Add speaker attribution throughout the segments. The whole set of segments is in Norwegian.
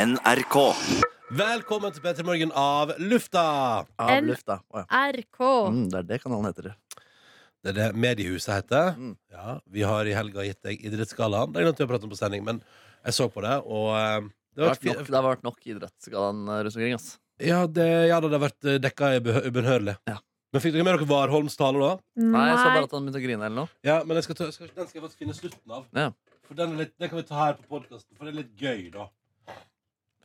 Speaker 1: NRK.
Speaker 2: Velkommen til P3 Morgen av lufta!
Speaker 3: N-
Speaker 4: Av lufta. Å, ja.
Speaker 3: RK.
Speaker 4: mm, det er det kanalen heter.
Speaker 2: Det er det mediehuset heter.
Speaker 4: Mm.
Speaker 2: Ja, vi har i helga gitt deg Idrettsgallaen. Det er glemt vi har pratet om på sending, men jeg så på det, og eh,
Speaker 4: Det
Speaker 2: det var
Speaker 4: har vært nok, det har vært nok idrettsgallaen eh, rundt omkring. Ass.
Speaker 2: Ja, det, ja da, det har vært eh, dekka ubehø- ubønnhørlig.
Speaker 4: Ja.
Speaker 2: Men fikk dere med dere Warholms tale, da?
Speaker 4: Nei, jeg så bare
Speaker 3: Nei.
Speaker 4: at han begynte å grine eller noe.
Speaker 2: Ja, men jeg skal ta, skal, den skal jeg faktisk finne slutten av.
Speaker 4: Ja.
Speaker 2: For den, er litt, den kan vi ta her på podkasten, for det er litt gøy, da.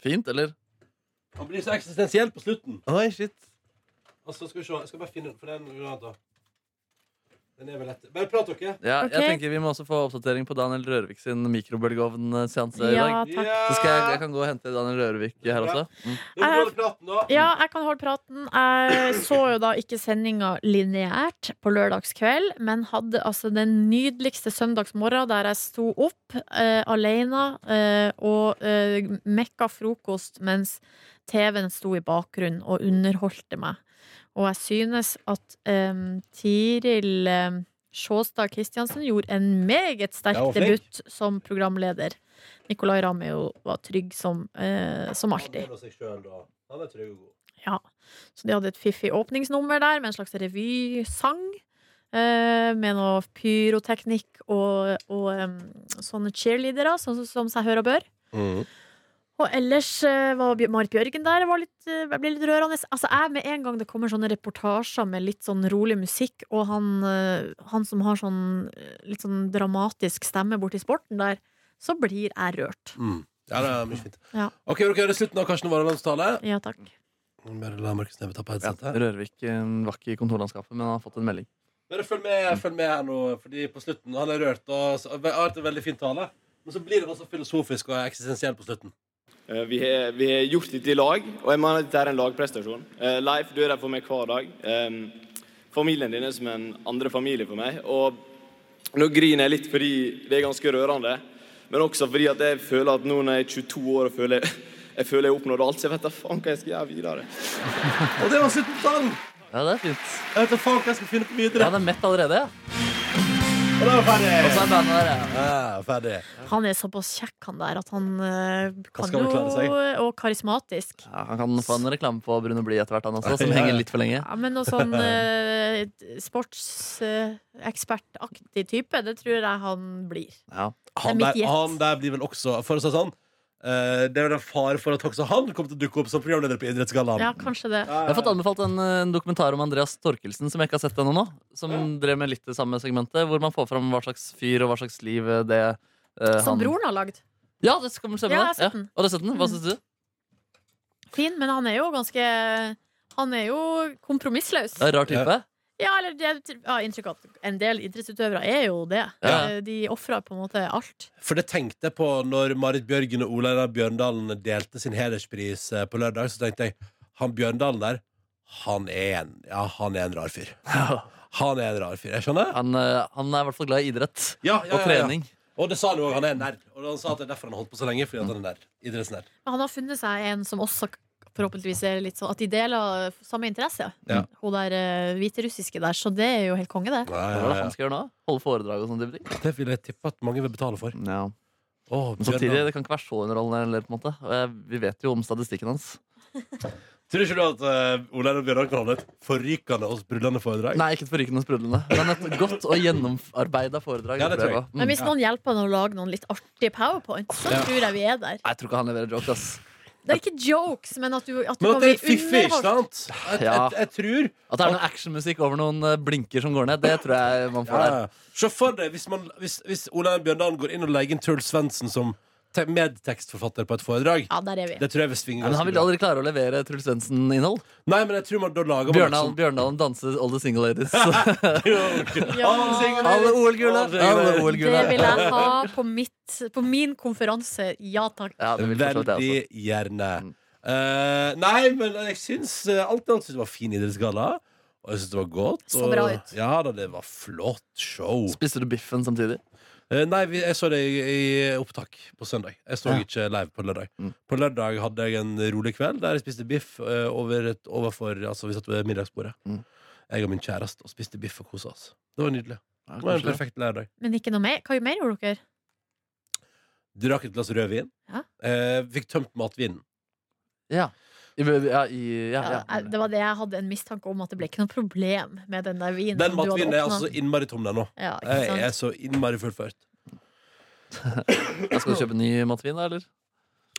Speaker 4: Fint, eller?
Speaker 2: Han blir så eksistensiell på slutten.
Speaker 4: Oi, shit.
Speaker 2: Altså, skal vi se, Jeg skal bare finne den, for den er noe annet, da. Den er vel lett. Bare prat, dere.
Speaker 4: Ja,
Speaker 3: Ok.
Speaker 4: Jeg tenker Vi må også få oppdatering på Daniel Rørvik sin mikrobølgeovnseanse i
Speaker 3: Ja,
Speaker 4: dag.
Speaker 3: takk.
Speaker 4: Så skal jeg, jeg kan gå og hente Daniel Rørvik her også. Mm.
Speaker 2: Du får holde praten, da.
Speaker 3: Ja, jeg kan holde praten. Jeg så jo da ikke sendinga lineært på lørdagskveld, men hadde altså den nydeligste søndagsmorgen der jeg sto opp eh, alene eh, og eh, mekka frokost mens TV-en sto i bakgrunnen og underholdte meg. Og jeg synes at eh, Tiril eh, Sjåstad Kristiansen gjorde en meget sterk
Speaker 2: Ja, hun var flink.
Speaker 3: debut som programleder. Nicolay Ramm er jo- var trygg som, eh, som alltid.
Speaker 2: Han er seg selv, da. Han er trygg og god.
Speaker 3: Ja, så de hadde et fiffig åpningsnummer der med en slags revysang. eh, Med noe pyroteknikk og, og em, sånne cheerleadere, sånn som seg hør og bør.
Speaker 4: Mm,
Speaker 3: Og ellers eh, var Bj- Marit Bjørgen der. Jeg, var litt, eh, jeg ble litt rørende. Altså, jeg Med en gang det kommer sånne reportasjer med litt sånn rolig musikk, og han, eh, han som har sånn eh, litt sånn dramatisk stemme borti sporten der, så blir jeg rørt.
Speaker 4: mm.
Speaker 2: Ja, det er mye fint.
Speaker 3: Ja.
Speaker 2: Ok, vil dere høre slutten av Karsten Warholms tale?
Speaker 3: Ja, takk.
Speaker 2: Bare la Markus Neve ta på
Speaker 4: Ja,
Speaker 2: headsetet.
Speaker 4: Rørvik eh, var ikke i kontorlandskapet, men han har fått en melding.
Speaker 2: Bare følg med, følg med her nå, fordi på slutten Han er rørt og så- det har vært en veldig fin tale. Men så blir det også filosofisk og eksistensiell på slutten.
Speaker 5: Eh, Vi har, vi har gjort dette i lag, og jeg mener at dette er en lagprestasjon. Eh, Leif, du er der for meg hver dag. Em, familien din er som en andre familie for meg. Og nå griner jeg litt fordi det er ganske rørende, men også fordi at jeg føler at nå når jeg er 22 år og føler jeg føler jeg har oppnådd alt, så jeg vet da faen hva jeg skal gjøre videre.
Speaker 2: Og det var slutten på talen!
Speaker 4: Ja, det er fint.
Speaker 2: Jeg vet da faen hva jeg skal finne på
Speaker 4: Ja,
Speaker 2: videre.
Speaker 4: det er mett allerede, ja.
Speaker 2: Og da er vi
Speaker 4: Og
Speaker 2: ferdig!
Speaker 4: så er bandet der, ja.
Speaker 2: Ja, ferdig.
Speaker 3: Han er såpass kjekk, han der, at han eh, kan
Speaker 2: skal han klare seg?
Speaker 3: jo Og karismatisk.
Speaker 4: ja. Han kan få en reklame på Brune Blie etter hvert, han også, som henger litt for lenge.
Speaker 3: Ja, men noe sånn sportsekspertaktig type, det tror jeg han blir.
Speaker 4: Ja.
Speaker 2: Han
Speaker 3: Det er mitt
Speaker 2: der,
Speaker 3: gjett.
Speaker 2: han der blir vel også For å si det sånn eh, Det er vel en fare for at også han kommer til å dukke opp som programleder på Idrettsgallaen.
Speaker 3: Ja, kanskje det.
Speaker 2: Ja,
Speaker 4: Jeg har fått anbefalt en, eh, en dokumentar om Andreas Torkelsen som jeg ikke har sett ennå. nå, Som drev med litt det samme segmentet, hvor man får fram hva slags fyr og hva slags liv eh, det eh,
Speaker 3: Som
Speaker 4: han-
Speaker 3: broren har lagd.
Speaker 4: Ja, det skal man stemme
Speaker 3: Ja, jeg har
Speaker 4: det.
Speaker 3: sett den. Mm.
Speaker 4: Og du har sett den? Hva syns du?
Speaker 3: Fin, men han er jo ganske Han er jo kompromissløs.
Speaker 4: Det er en Rar type?
Speaker 3: Ja, eller jeg har inntrykk av at en del idrettsutøvere er jo det.
Speaker 4: Ja.
Speaker 3: Eh, De ofrer på en måte alt.
Speaker 2: For det tenkte jeg på når Marit Bjørgen og Ola Einar Bjørndalen delte sin hederspris eh, på lørdag. Så tenkte jeg han Bjørndalen der, han er en, ja, han er en rar fyr. Han er en rar fyr. Jeg skjønner.
Speaker 4: Han, eh, han er i hvert fall glad i idrett
Speaker 2: Ja, ja,
Speaker 4: og
Speaker 2: ja, ja.
Speaker 4: trening.
Speaker 2: Og det sa han jo òg. Han er en nerd. Og han sa at det er derfor han har holdt på så lenge. Fordi at han er nerd. Idrettsnerd.
Speaker 3: Men han har funnet seg en som også forhåpentligvis er litt sånn At de deler samme interesse.
Speaker 2: Ja.
Speaker 3: Hun der eh, hviterussiske der, så det er jo helt konge, det.
Speaker 4: Hva er det han skal gjøre nå? Holde foredrag og sånne type ting?
Speaker 2: Det vil jeg tippe at mange vil betale for.
Speaker 4: Ja.
Speaker 2: Åh,
Speaker 4: Men samtidig,
Speaker 2: Bjørndalen.
Speaker 4: det kan ikke være så underholdende. Eller, på en måte. Og jeg, vi vet jo om statistikken hans.
Speaker 2: Tror ikke du at eh, Ola Einar Bjørndalen kan holde et forrykende og sprudlende foredrag?
Speaker 4: Nei, ikke et forrykende og sprudlende, men et godt og gjennomarbeida foredrag.
Speaker 2: Ja, det tror jeg.
Speaker 4: opplever.
Speaker 3: Men
Speaker 4: Mm.
Speaker 3: hvis noen hjelper han å lage noen litt artige powerpoint, så
Speaker 2: Ja.
Speaker 3: tror jeg vi er der.
Speaker 4: Nei, Jeg tror ikke han leverer jokes, ass.
Speaker 3: Det er ikke jokes, men at du, at du
Speaker 2: Men
Speaker 3: kan
Speaker 2: at det er
Speaker 3: bli
Speaker 2: litt fiffig, ikke
Speaker 3: underholdt.
Speaker 2: sant? Jeg, jeg,
Speaker 4: Ja.
Speaker 2: jeg, tror
Speaker 4: At det er noe actionmusikk over noen eh, blinker som går ned, det tror jeg man får der.
Speaker 2: Ja. Se for deg hvis, man, hvis, hvis Olaug Bjørndalen går inn og legger inn Truls Svendsen som te medtekstforfatter på et foredrag.
Speaker 3: Ja, der er vi.
Speaker 2: Det tror jeg vil svinge
Speaker 4: Men han
Speaker 2: ganske
Speaker 4: vil
Speaker 2: bra.
Speaker 4: aldri klare å levere Truls Svendsen-innhold.
Speaker 2: Nei, men jeg tror man da lager man
Speaker 4: Bjørndalen, Bjørndalen danser All the Single Ladies.
Speaker 2: liksom-
Speaker 3: Ja.
Speaker 2: Alle single
Speaker 4: Alle
Speaker 2: ladies.
Speaker 4: OL-gullet! Alle
Speaker 3: Det vil
Speaker 4: OL-gullet.
Speaker 3: jeg ha på, mitt, på min konferanse. Ja takk.
Speaker 4: Ja, det vil fortsatt altså. Mm. jeg også.
Speaker 2: Veldig gjerne. Eh, nei, men jeg syns eh, alt i alt syns det var fin idrettsgalla. Og jeg syns det var godt.
Speaker 3: Så
Speaker 2: og-
Speaker 3: bra ut.
Speaker 2: Ja da, det var flott show.
Speaker 4: Spiste du biffen samtidig?
Speaker 2: Eh, nei, vi, jeg så det i, i opptak på søndag. Jeg så
Speaker 4: Ja.
Speaker 2: ikke live på lørdag.
Speaker 4: Mm.
Speaker 2: På lørdag hadde jeg en rolig kveld der jeg spiste biff eh, over et, overfor Altså, vi satt ved middagsbordet.
Speaker 4: Mm.
Speaker 2: Jeg og min kjæreste og spiste biff og kosa oss. Det var nydelig.
Speaker 4: Ja,
Speaker 2: Det var en
Speaker 4: kanskje det.
Speaker 2: perfekt lørdag.
Speaker 3: Men ikke noe mer? Hva mer gjorde dere?
Speaker 2: Drakk et glass rødvin.
Speaker 3: Ja.
Speaker 2: Eh, fikk tømt matvinen.
Speaker 4: Ja. I, ja, i, ja,
Speaker 3: Ja,
Speaker 4: ja.
Speaker 3: jeg- det var det jeg hadde en mistanke om, at det ble ikke noe problem med den der vinen.
Speaker 2: Den
Speaker 3: som du hadde
Speaker 2: matvinen er
Speaker 3: åpnet.
Speaker 2: altså innmari tom der nå.
Speaker 3: ja, ikke
Speaker 2: Jeg er
Speaker 3: sant?
Speaker 2: så innmari fullført.
Speaker 4: Jeg skal du kjøpe ny matvin, da, eller?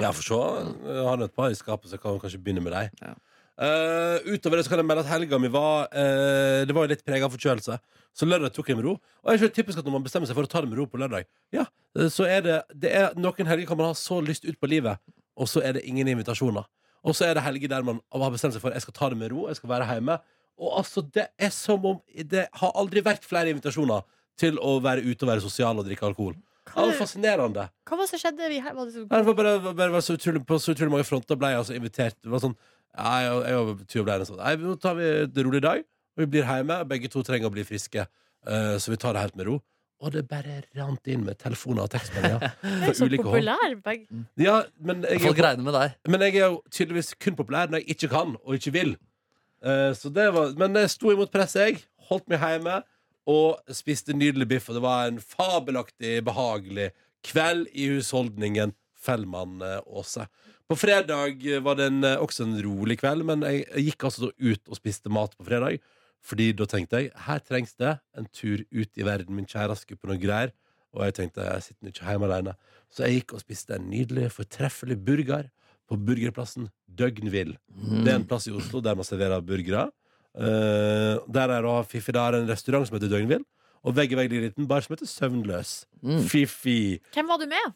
Speaker 2: Ja, for så Jeg har et par i skapet, så jeg kan kanskje begynne med deg.
Speaker 4: Ja.
Speaker 2: Eh, utover det så kan jeg melde at helga mi var eh, Det var jo litt prega av forkjølelse. Så lørdag tok jeg med ro. Og jeg synes det er typisk at når man bestemmer seg for å ta det med ro på lørdag, Ja, eh, så er det, det er, Noen helger kan man ha så lyst ut på livet, og så er det ingen invitasjoner. Og så er det helger der man har bestemt seg for Jeg skal ta det med ro, jeg skal være hjemme. Og altså, det er som om Det har aldri vært flere invitasjoner til å være ute og være sosial og drikke alkohol. Det er
Speaker 3: Hva,
Speaker 2: fascinerende.
Speaker 3: hva var det som skjedde? Vi her, var det så,
Speaker 2: Nei, det var bare, det var bare det var så utrolig, på så utrolig mange fronter ble jeg altså invitert. Det var sånn, ja, jeg, jeg og Tuva ble enige sånn Nei, nå tar vi det rolig i dag. Og vi blir hjemme. Begge to trenger å bli friske. eh, så vi tar det helt med ro. Og det bare rant inn med telefoner og tekstmeldinger.
Speaker 3: jeg er
Speaker 2: fra
Speaker 3: så
Speaker 2: ulike hold.
Speaker 3: populær. begge-
Speaker 2: Ja, men jeg,
Speaker 4: Folk
Speaker 2: er,
Speaker 4: regner med deg.
Speaker 2: men jeg er jo tydeligvis kun populær når jeg ikke kan og ikke vil. Eh, så det var, men jeg sto imot presset, jeg. Holdt meg hjemme og spiste nydelig biff. Og det var en fabelaktig behagelig kveld i husholdningen Fellmann eh, Åse. På fredag eh, var det en, eh, også en rolig kveld, men jeg, jeg gikk altså da ut og spiste mat på fredag. Fordi da tenkte jeg her trengs det en tur ut i verden. Min kjæreste skulle på noe greier. Og jeg tenkte jeg sitter nå ikke hjemme alene. Så jeg gikk og spiste en nydelig, fortreffelig burger på burgerplassen Døgnvill.
Speaker 4: Mm.
Speaker 2: Det er en plass i Oslo der man serverer burgere. Eh, der er da Fifi der en restaurant som heter Døgnvill. Og vegg i vegg ligger en liten bar som heter Søvnløs.
Speaker 4: Mm.
Speaker 2: Fifi.
Speaker 3: Hvem var du med?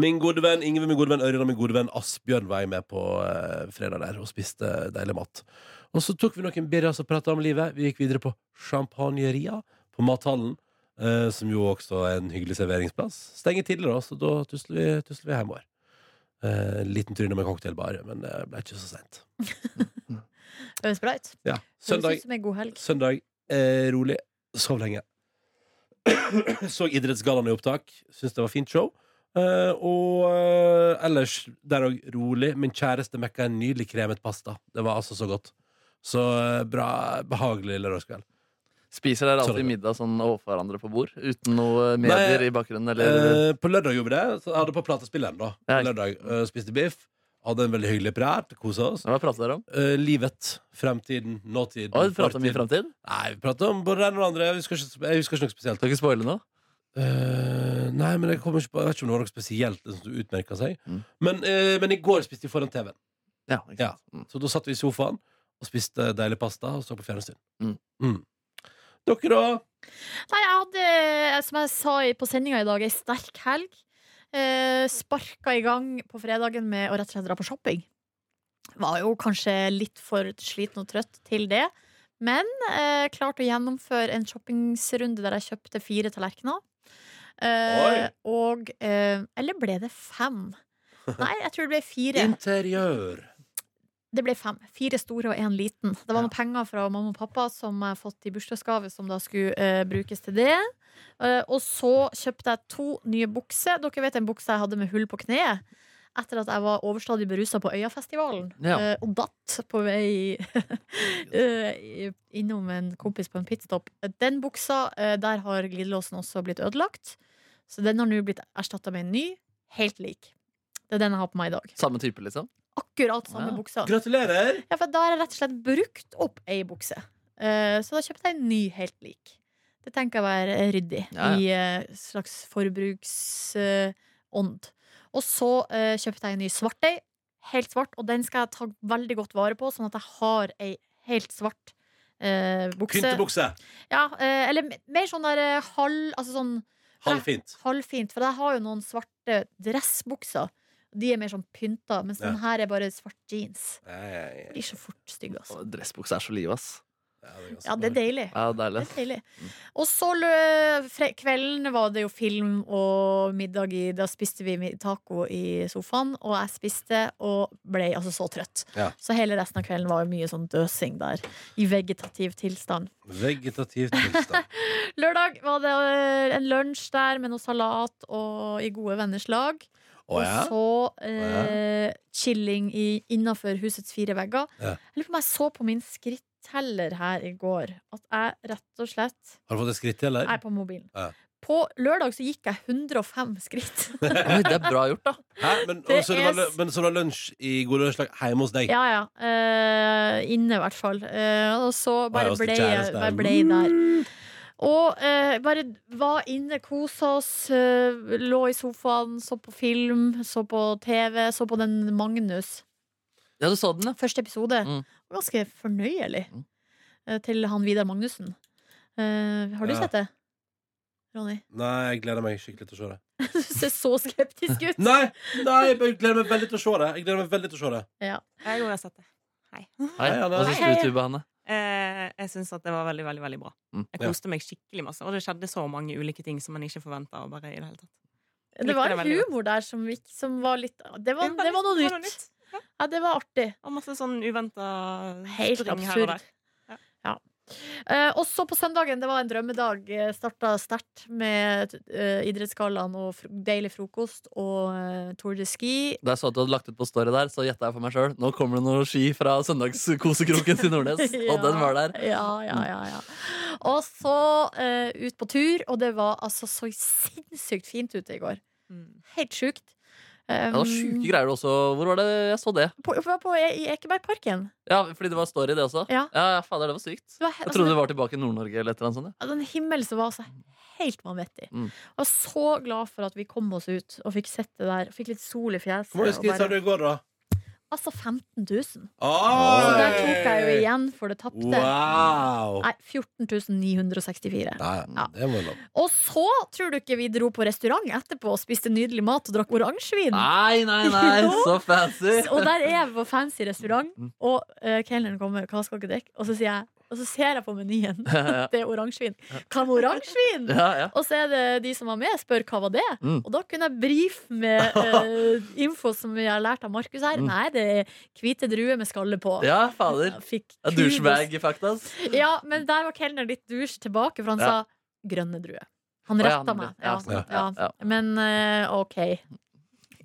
Speaker 2: Min gode venn Ingve, min gode venn Ørjan og min gode venn Asbjørn var jeg med på eh, fredag der og spiste deilig mat. Og så tok vi noen birras og prata om livet. Vi gikk videre på Champagneria, på mathallen. eh, som jo også er en hyggelig serveringsplass. Stenger tidligere, da, så da tusler vi, tusler vi hjemover. Eh, liten tur innom en cocktailbar, men det ble ikke så seint.
Speaker 3: Øyvind Spreit?
Speaker 2: Ja.
Speaker 3: Høres
Speaker 2: Søndag,
Speaker 3: ut som en god helg.
Speaker 2: søndag eh, rolig. Sov lenge. Så Idrettsgallaen i opptak. Syns det var fint show. Eh, og eh, ellers der òg rolig. Min kjæreste mekka en nydelig kremet pasta. Det var altså så godt. Så eh, bra, behagelig lørdagskveld.
Speaker 4: Spiser dere
Speaker 2: Sorry.
Speaker 4: alltid middag sånn overfor hverandre på bord? Uten noe medier
Speaker 2: Nei,
Speaker 4: i bakgrunnen?
Speaker 2: Eh,
Speaker 4: Eller?
Speaker 2: på lørdag gjorde vi det. Så jeg hadde på platespilleren, da. På
Speaker 4: Ja.
Speaker 2: lørdag eh, Spiste biff. Hadde en veldig hyggelig prat. Kosa oss.
Speaker 4: Hva prater dere om?
Speaker 2: Eh, livet. Fremtiden. Nåtiden.
Speaker 4: Oi, prater mye
Speaker 2: fortiden.
Speaker 4: fremtid?
Speaker 2: Nei, vi pratet om både det ene og det andre. Jeg husker ikke, jeg husker ikke noe spesielt.
Speaker 4: Skal ikke spoile noe?
Speaker 2: Eh, nei, men jeg, kommer ikke på, jeg vet ikke om det var noe spesielt liksom, som utmerka seg.
Speaker 4: Mm.
Speaker 2: Men, eh, men i går spiste vi foran TV-en.
Speaker 4: Ja, ikke
Speaker 2: Ja.
Speaker 4: sant? Mm.
Speaker 2: Så da satt vi i sofaen og spiste deilig pasta og så på fjernsyn.
Speaker 4: Mm.
Speaker 2: Mm. Dere, da?
Speaker 3: Nei, jeg hadde, eh, som jeg sa i- på sendinga i dag, ei sterk helg. Eh, sparka i gang på fredagen med å rett og slett dra på shopping. Var jo kanskje litt for sliten og trøtt til det, men eh, klarte å gjennomføre en shoppingsrunde der jeg kjøpte fire tallerkener. Eh, og eh, Eller ble det fem? Nei, jeg tror det ble fire.
Speaker 2: Interiør.
Speaker 3: Det ble fem. Fire store og én liten. Det var
Speaker 4: Ja.
Speaker 3: noen penger fra mamma og pappa som jeg har fått i bursdagsgave, som da skulle eh, brukes til det. Eh, og så kjøpte jeg to nye bukser. Dere vet den buksa jeg hadde med hull på kneet? Etter at jeg var overstadig berusa på Øyafestivalen
Speaker 4: Mm. Ja.
Speaker 3: eh, og datt på vei eh, i- innom en kompis på en pitstop. Den buksa, eh, der har glidelåsen også blitt ødelagt. Så den har nå blitt erstatta med en ny, helt lik. Det er den jeg har på meg i dag.
Speaker 4: Samme type, liksom?
Speaker 3: Akkurat samme
Speaker 4: Ja.
Speaker 3: buksa.
Speaker 2: Gratulerer!
Speaker 3: Ja, for da har jeg rett og slett brukt opp ei bukse. Eh, så da kjøpte jeg en ny helt lik. Det tenker jeg var eh, ryddig
Speaker 4: Ja, ja.
Speaker 3: i eh, slags forbruksånd. og så eh, kjøpte jeg en ny svart ei. Helt svart, og den skal jeg ta veldig godt vare på, sånn at jeg har ei helt svart eh, bukse.
Speaker 2: Pyntebukse.
Speaker 3: Ja, eh, eller me- mer sånn der eh, halv Altså sånn
Speaker 2: Halvfint.
Speaker 3: halvfint, for jeg har jo noen svarte dressbukser. De er mer sånn pynta, mens
Speaker 2: Ja.
Speaker 3: den her er bare svart jeans.
Speaker 2: Ja, ja, ja.
Speaker 3: Blir så fort stygg, altså.
Speaker 4: Å, Dressbukse er så liv, ass.
Speaker 2: Ja, det er ganske
Speaker 3: Ja, det er
Speaker 2: bra.
Speaker 3: deilig.
Speaker 4: Ja, deilig.
Speaker 3: Det Mm. er deilig. Og så lø- fre- kvelden var det jo film og middag i Da spiste vi mi- taco i sofaen, og jeg spiste og ble altså så trøtt.
Speaker 2: Ja.
Speaker 3: Så hele resten av kvelden var jo mye sånn døsing der, i vegetativ tilstand.
Speaker 2: Vegetativ tilstand.
Speaker 3: Lørdag var det ø, en lunsj der med noe salat og i gode venners lag.
Speaker 2: Å ja?
Speaker 3: Og så eh, chilling i- innenfor husets fire vegger.
Speaker 2: Ja.
Speaker 3: Jeg lurer på om jeg så på min skritteller her i går at jeg rett og slett
Speaker 2: Har du fått et skritt til, eller?
Speaker 3: Nei, på mobilen.
Speaker 2: Ja.
Speaker 3: På lørdag så gikk jeg 105 skritt.
Speaker 4: Oi, det er bra gjort, da.
Speaker 2: Hæ? Men,
Speaker 3: Det
Speaker 2: så det
Speaker 3: er
Speaker 2: var, lø- men så det var lunsj i god lunsjdag hjemme hos deg?
Speaker 3: Ja, ja. Eh, inne, i hvert fall. Eh, og så bare
Speaker 2: Ja, hos
Speaker 3: ble
Speaker 2: de
Speaker 3: jeg
Speaker 2: kjæreste. Mm.
Speaker 3: bare ble jeg der. Og eh, bare var inne, kosa oss, eh, lå i sofaen, så på film, så på TV, så på den Magnus.
Speaker 4: Ja, du så den, ja.
Speaker 3: Første episode.
Speaker 4: Mm.
Speaker 3: Ganske fornøyelig.
Speaker 4: Mm.
Speaker 3: eh, Til han Vidar Magnussen. Eh, har du
Speaker 2: Ja.
Speaker 3: sett det, Ronny?
Speaker 2: Nei, jeg gleder meg skikkelig til å se det.
Speaker 3: Du ser så skeptisk ut.
Speaker 2: Nei, nei, jeg gleder meg veldig til å se det. Jeg gleder meg veldig til å se det.
Speaker 1: Jeg har sett det.
Speaker 4: Hei,
Speaker 2: Hei, Anne.
Speaker 4: Hva syns du, Tube Hanne?
Speaker 1: Eh, jeg syns at det var veldig, veldig veldig bra.
Speaker 4: Mm.
Speaker 1: Jeg
Speaker 2: Ja.
Speaker 1: koste meg skikkelig masse, og det skjedde så mange ulike ting som man ikke forventa. Det, hele tatt.
Speaker 3: Det var
Speaker 1: Likte det
Speaker 3: en
Speaker 1: veldig godt.
Speaker 3: humor der som, ikke, som var litt Det var,
Speaker 1: var
Speaker 3: det var
Speaker 1: litt-
Speaker 3: noe
Speaker 1: det var noe
Speaker 3: nytt. Ja, det var artig.
Speaker 1: Og masse sånn uventa
Speaker 3: Helt absurd. Ja. Eh, også på søndagen, det var en drømmedag. Eh, Starta sterkt med uh, Idrettsgallaen og fr deilig frokost og eh, Tour de Ski.
Speaker 4: Da jeg så at du hadde lagt ut på story der, så gjetta jeg for meg sjøl. Nå kommer det noe ski fra søndagskosekroken til Nordnes. Og den var der.
Speaker 3: Ja, ja, ja, ja. Og så eh, ut på tur, og det var altså så sinnssykt fint ute i går.
Speaker 1: Mm.
Speaker 3: Helt sjukt.
Speaker 4: Ja, det var
Speaker 3: Um.
Speaker 4: sjuke greier også. Hvor var det jeg så det?
Speaker 3: På, på, på, I Ekebergparken.
Speaker 4: Ja, Fordi det var story, det også?
Speaker 3: Ja.
Speaker 4: ja, ja fader, det var sykt.
Speaker 3: Det var, he-
Speaker 4: Jeg
Speaker 3: altså,
Speaker 4: trodde du var tilbake i Nord-Norge eller et eller annet sånt. ja.
Speaker 3: Ja, den himmelen som var altså helt vanvittig.
Speaker 4: Mm.
Speaker 3: Jeg var så glad for at vi kom oss ut og fikk sett det der. Fikk litt sol i fjeset.
Speaker 2: Hvor mange
Speaker 3: og
Speaker 2: skritt
Speaker 3: bare-
Speaker 2: har du i går, da?
Speaker 3: Altså 15 000.
Speaker 2: Oi!
Speaker 3: Så der tok jeg jo igjen for det tapte.
Speaker 2: Wow!
Speaker 3: Nei, 14 964.
Speaker 2: Nei,
Speaker 3: Ja.
Speaker 2: det må lov.
Speaker 3: Og så tror du ikke vi dro på restaurant etterpå og spiste nydelig mat og drakk oransjevin?
Speaker 4: Nei, nei, nei, så fancy!
Speaker 3: Og der er vi på fancy restaurant,
Speaker 4: Mm.
Speaker 3: og uh, kelneren kommer 'hva skal dere drikke?' Og så sier jeg og så ser jeg på menyen.
Speaker 4: ja,
Speaker 3: Det er oransjevin. Hva med oransjevin?
Speaker 4: ja.
Speaker 3: Og så er det de som var med, spør hva var det
Speaker 4: Mm.
Speaker 3: Og da kunne jeg brife med eh, info som jeg har lært av Markus her.
Speaker 4: Mm.
Speaker 3: Nei, det er hvite druer med skalle på.
Speaker 4: ja fader.
Speaker 3: Jeg Fikk
Speaker 4: Ja,
Speaker 3: kudos.
Speaker 4: Douchebag-fakta. ass.
Speaker 3: Ja, men der var kelneren litt douche tilbake, for han
Speaker 4: Ja.
Speaker 3: sa grønne druer. Han
Speaker 4: Å, ja,
Speaker 3: retta
Speaker 4: han-
Speaker 3: meg.
Speaker 4: ja,
Speaker 3: Ja,
Speaker 4: sånn,
Speaker 3: ja.
Speaker 4: ja, ja.
Speaker 3: Men eh, OK.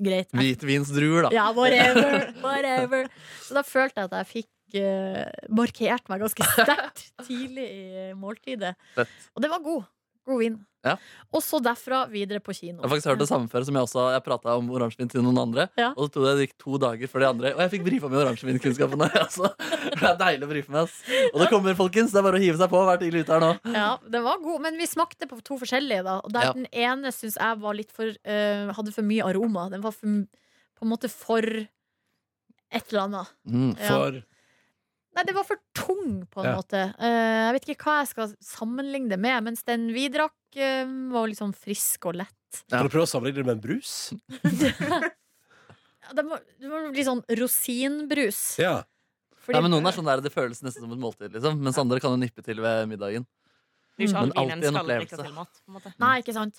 Speaker 3: Greit.
Speaker 4: Hvitvinsdruer, da.
Speaker 3: Ja, whatever. whatever. Så da følte jeg at jeg fikk eh, markert meg ganske sterkt tidlig i måltidet.
Speaker 4: Fett.
Speaker 3: Og det var god. God vin.
Speaker 4: Ja.
Speaker 3: Og så derfra videre på kino.
Speaker 4: Jeg har faktisk hørt det samme før som jeg også Jeg prata om oransjevin til noen andre.
Speaker 3: Ja.
Speaker 4: Og så tok det det gikk to dager før de andre. Og jeg fikk brifa med oransjevinkunnskapene. Altså. Det er deilig å brife med. Ass. Og det kommer, folkens. Det er bare å hive seg på. Vær tidlig ute her nå.
Speaker 3: Ja, den var god, men vi smakte på to forskjellige. da Og der
Speaker 4: Ja.
Speaker 3: Den ene syns jeg var litt for eh, hadde for mye aroma. Den var for, m- på en måte for et eller annet.
Speaker 4: Mm.
Speaker 3: Ja.
Speaker 2: For
Speaker 3: Nei, den var for tung, på en
Speaker 2: Ja.
Speaker 3: måte. Eh, jeg vet ikke hva jeg skal sammenligne det med, mens den vi drakk, eh, var liksom frisk og lett.
Speaker 2: Kan du prøve å sammenligne det med en brus?
Speaker 3: Ja, Den var, den var litt sånn rosinbrus.
Speaker 2: Ja.
Speaker 3: Fordi-
Speaker 4: Nei, men noen er sånn der det føles nesten som et måltid, liksom. Mens andre kan jo nippe til ved middagen.
Speaker 1: Det er jo ikke
Speaker 4: Men
Speaker 1: all vin en
Speaker 4: alltid en
Speaker 1: skal drikke
Speaker 4: opplevelse.
Speaker 1: til mat. På en måte.
Speaker 3: Nei, ikke sant.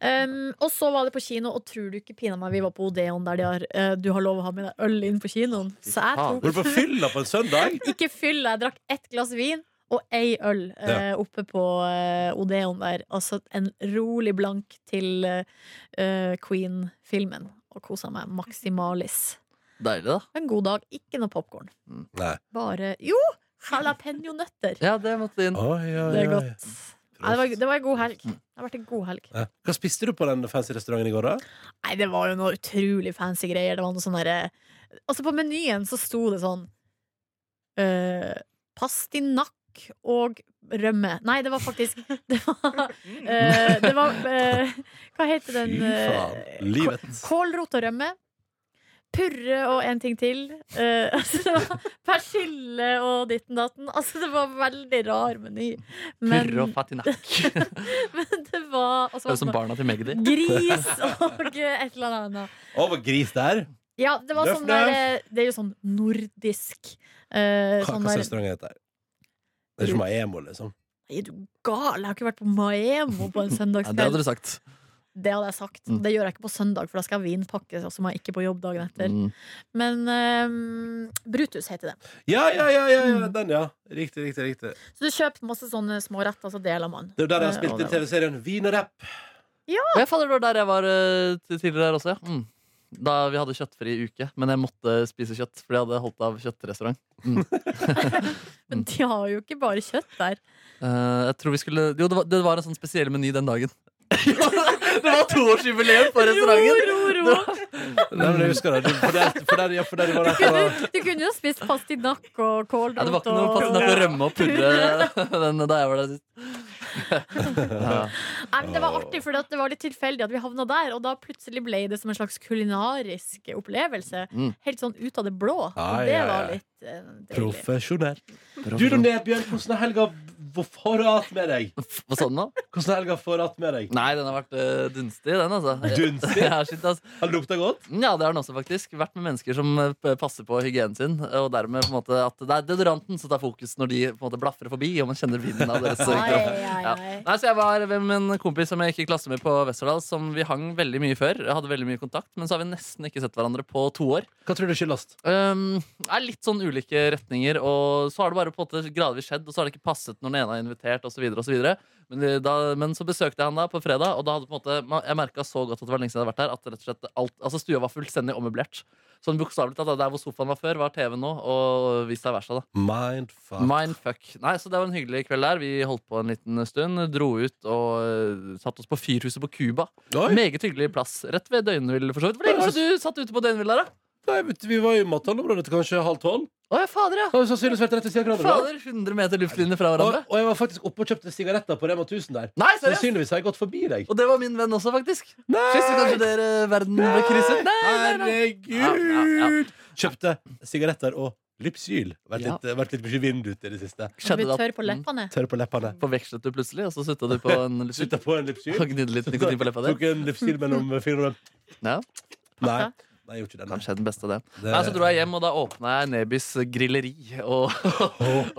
Speaker 3: Um, og så var det på kino, og tror du ikke pina meg, vi var på Odeon der de har eh, Du har lov å ha med deg øl inn på kinoen. Så
Speaker 4: faen.
Speaker 3: jeg
Speaker 2: Var du på
Speaker 3: tok
Speaker 2: fylla på en søndag?
Speaker 3: ikke fyll, jeg drakk ett glass vin. Og ei øl eh, oppe på eh, Odeon der. Altså en rolig blank til eh, eh, Queen-filmen. Og kosa meg maksimalis.
Speaker 4: Deilig, da.
Speaker 3: En god dag. Ikke noe popkorn.
Speaker 2: Nei.
Speaker 3: Bare Jo! Jalapeño-nøtter.
Speaker 4: Ja, det måtte inn.
Speaker 2: Oi, oi,
Speaker 3: Det er
Speaker 2: oi.
Speaker 3: godt. Nei, det, var, det var en god helg. Det har vært en god helg.
Speaker 2: Ja. Hva spiste du på den fancy restauranten i går, da?
Speaker 3: Nei, det var jo noe utrolig fancy greier. Det var noe sånn derre Altså, på menyen så sto det sånn uh, Pastinakk og rømme. Nei, det var faktisk Det var, eh, det var eh, Hva heter den eh,
Speaker 2: Livet.
Speaker 3: kå- Kålrot og rømme. Purre og en ting til. Eh, altså, det var persille og ditten datten. Altså, det var veldig rar meny. Men,
Speaker 4: Purre og fatinakk. Det
Speaker 3: men det var altså,
Speaker 4: er som barna til Magdi.
Speaker 3: Gris og et eller annet.
Speaker 2: Å, var gris der?
Speaker 3: Ja, det var
Speaker 2: Nøff,
Speaker 3: sånn der eh, Det er jo sånn nordisk eh,
Speaker 2: Hva,
Speaker 3: sånn
Speaker 2: hva
Speaker 3: der,
Speaker 2: restaurant heter det? Det er ikke Maemo, liksom.
Speaker 3: Er du gal? Jeg har ikke vært på Maemo på
Speaker 4: Ja,
Speaker 3: en
Speaker 4: det hadde
Speaker 3: søndagskveld.
Speaker 4: du sagt.
Speaker 3: det hadde jeg sagt.
Speaker 4: Mm.
Speaker 3: Det gjør jeg ikke på søndag, for da skal jeg vinpakke, og så må jeg ikke på jobb dagen etter.
Speaker 4: Mm.
Speaker 3: Men eh, Brutus heter det.
Speaker 2: Ja, ja, ja, ja, ja, den, ja. Riktig, riktig. riktig
Speaker 3: Så du kjøper masse sånne småretter, så deler man.
Speaker 2: Det er jo der jeg har
Speaker 3: Eh,
Speaker 2: spilt
Speaker 3: og
Speaker 2: inn
Speaker 3: det-
Speaker 2: TV-serien Vin og rapp.
Speaker 4: Og jeg faller det var der jeg var eh, til- tidligere her også, ja. Mm. Da vi hadde kjøttfri uke, men jeg måtte spise kjøtt, fordi jeg hadde holdt av kjøttrestaurant.
Speaker 3: Men de har jo ikke bare kjøtt der.
Speaker 4: Eh, jeg tror vi skulle Jo, det var, det var en sånn spesiell meny den dagen. Det var toårsjubileum for restauranten!
Speaker 3: Ro, ro, ro.
Speaker 2: Nei, men jeg husker det. Du- For der, for der, ja, for der var det
Speaker 3: Du, du kunne jo spist pastinakk og kålrot.
Speaker 4: Ja, det var ikke noe passende nok å rømme og purre den da jeg var der sist. Ja.
Speaker 3: Nei, men det var artig, for det var litt tilfeldig at vi havna der. Og da plutselig ble det som en slags kulinarisk opplevelse.
Speaker 4: Mm.
Speaker 3: Helt sånn ut av det blå. Og
Speaker 2: Ja,
Speaker 3: det
Speaker 2: ja, ja.
Speaker 3: var litt eh, deilig.
Speaker 2: Profesjonell. Du, Doné Bjørn, hvordan er helga v- forat med deg?
Speaker 4: Hva sa du nå?
Speaker 2: Hvordan er helga forat med deg?
Speaker 4: Nei, den har vært eh, dunstig, den, altså.
Speaker 2: Dunstig?
Speaker 4: Ja, shit, ass.
Speaker 2: Har det lukta godt?
Speaker 4: Ja, det har den også, faktisk. Vært med mennesker som eh, p- passer på hygienen sin. Og dermed på en måte at det er deodoranten som tar fokus når de på en måte blafrer forbi, og man kjenner vinden av deres
Speaker 3: Ai,
Speaker 4: kropp.
Speaker 3: ai,
Speaker 4: Ja.
Speaker 3: ai.
Speaker 4: Nei, så Jeg var med en kompis som jeg gikk i klasse med på Westerdal, som vi hang veldig mye før. Hadde veldig mye kontakt, men så har vi nesten ikke sett hverandre på to år.
Speaker 2: Hva tror du skyldes?
Speaker 4: Um, er litt sånn ulike retninger, og så har det bare på en måte gradvis skjedd. Og så har det ikke passet når den ene har invitert, osv. Men, det- da- men så besøkte jeg han da på fredag, og da hadde på en måte, ma- jeg merka så godt at det var lenge siden jeg hadde vært der, at rett og slett alt, altså stua var fullstendig ommøblert. Sånn bokstavelig talt, da, der hvor sofaen var før, var TV nå, og vice versa. da
Speaker 2: Mindfuck.
Speaker 4: Mindfuck. Nei, så det var en hyggelig kveld der. Vi holdt på en liten stund, dro ut og uh, satte oss på Fyrhuset på Cuba.
Speaker 2: Oi.
Speaker 4: Meget hyggelig plass. Rett ved Døgnvill, for så vidt. Hvor lenge var det du satt ute på Døgnvill der, da?
Speaker 2: Nei, vet du, vi var i mathalområdet til kanskje halv tolv.
Speaker 4: Å ja, fader, ja.
Speaker 2: Da har vi sannsynligvis vært rett ved siden av hverandre.
Speaker 4: Fader, 100 meter luftlinje fra
Speaker 2: Og,
Speaker 4: hverandre.
Speaker 2: og jeg var faktisk oppe og kjøpte sigaretter på Rema 1000 der.
Speaker 4: Nei, seriøst!
Speaker 2: Sannsynligvis har jeg gått forbi deg.
Speaker 4: Og det var min venn også, faktisk. Siste kanskje dere eh, verden ble krysset. Nei, nei, nei. Ja, ja, ja.
Speaker 2: Herregud! Kjøpte sigaretter og lypsyl. Vært
Speaker 4: Ja.
Speaker 2: litt, vært litt mye vind ute i det siste.
Speaker 3: Du
Speaker 4: Skjedde
Speaker 3: blir
Speaker 4: det
Speaker 3: tørr på
Speaker 4: at-
Speaker 3: leppene.
Speaker 2: Tørr på leppene.
Speaker 4: Mm. Forvekslet du plutselig, og så sutta du på en
Speaker 2: Slutta
Speaker 4: lypsyl?
Speaker 2: på en lypsyl.
Speaker 4: Og gnidde litt nikotin på leppa di?
Speaker 2: Tok en lypsyl mellom fingrene.
Speaker 4: Ja,
Speaker 2: Nei, Nei, jeg gjorde ikke det. Nei.
Speaker 4: kanskje den beste, det.
Speaker 2: Det-
Speaker 4: Nei, så dro jeg hjem, og da åpna jeg Nebys grilleri og,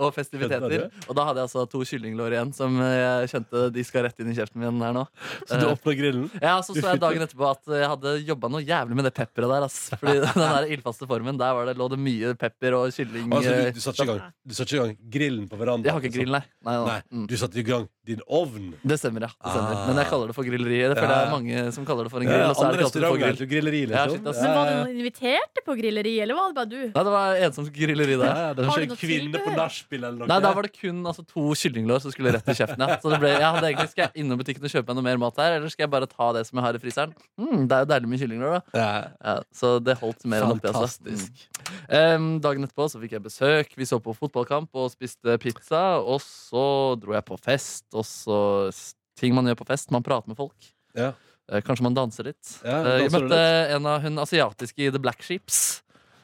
Speaker 4: og festiviteter. Og da hadde jeg altså to kyllinglår igjen som eh, jeg kjente de skal rett inn i kjeften min her nå. Eh,
Speaker 2: Så du åpna grillen?
Speaker 4: Ja, så så jeg dagen etterpå at eh, jeg hadde jobba noe jævlig med det pepperet der. Ass. Fordi den der ildfaste formen, der var det, lå det mye pepper og kylling
Speaker 2: Altså, du,
Speaker 4: eh,
Speaker 2: du satte ikke i gang, du satte ikke i gang grillen på verandaen? liksom.
Speaker 4: Jeg har ikke grill, nei. Nei, nei.
Speaker 2: Nei,
Speaker 4: Mm.
Speaker 2: du satte i gang din ovn.
Speaker 4: Det stemmer, ja. Det stemmer.
Speaker 2: Ah.
Speaker 4: Men jeg kaller det for grilleri. Det føler
Speaker 2: Ja,
Speaker 4: jeg
Speaker 2: ja.
Speaker 4: er mange som kaller det for en grill.
Speaker 2: Ja,
Speaker 4: Og så er
Speaker 2: alle
Speaker 4: det ikke alltid for
Speaker 2: restauranter
Speaker 4: grill.
Speaker 2: til grilleri,
Speaker 4: Ja,
Speaker 2: liksom.
Speaker 4: shit, altså. ass.
Speaker 3: Men var det
Speaker 2: Ja, ja.
Speaker 3: noen inviterte på grilleri, eller var det bare du?
Speaker 4: Nei, det var en som grilleri der.
Speaker 2: Ja, det
Speaker 3: Har
Speaker 2: var
Speaker 3: du
Speaker 2: ikke
Speaker 3: noe
Speaker 2: en kvinne på
Speaker 3: tilbehør?
Speaker 2: nachspiel eller noe.
Speaker 4: Nei, der var det kun altså, to kyllinglår som skulle rett i kjeften. Ja. Så det ble, jeg hadde egentlig, Skal jeg innom butikken og kjøpe meg noe mer mat her, eller skal jeg bare ta det som jeg har i fryseren? Mm, det er jo deilig med kyllinglår, da.
Speaker 2: Ja.
Speaker 4: Ja, så det holdt mer enn oppi. Altså.
Speaker 2: Fantastisk.
Speaker 4: Mm. Em, dagen etterpå så fikk jeg besøk. Vi så på fotballkamp og spiste pizza. Og så dro jeg på fest. Og så s- ting man gjør på fest. Man prater med folk.
Speaker 2: Ja.
Speaker 4: Eh, Kanskje man danser litt.
Speaker 2: Ja,
Speaker 4: Eh, jeg
Speaker 2: danser du
Speaker 4: møtte en av hun asiatiske i The Black Sheeps.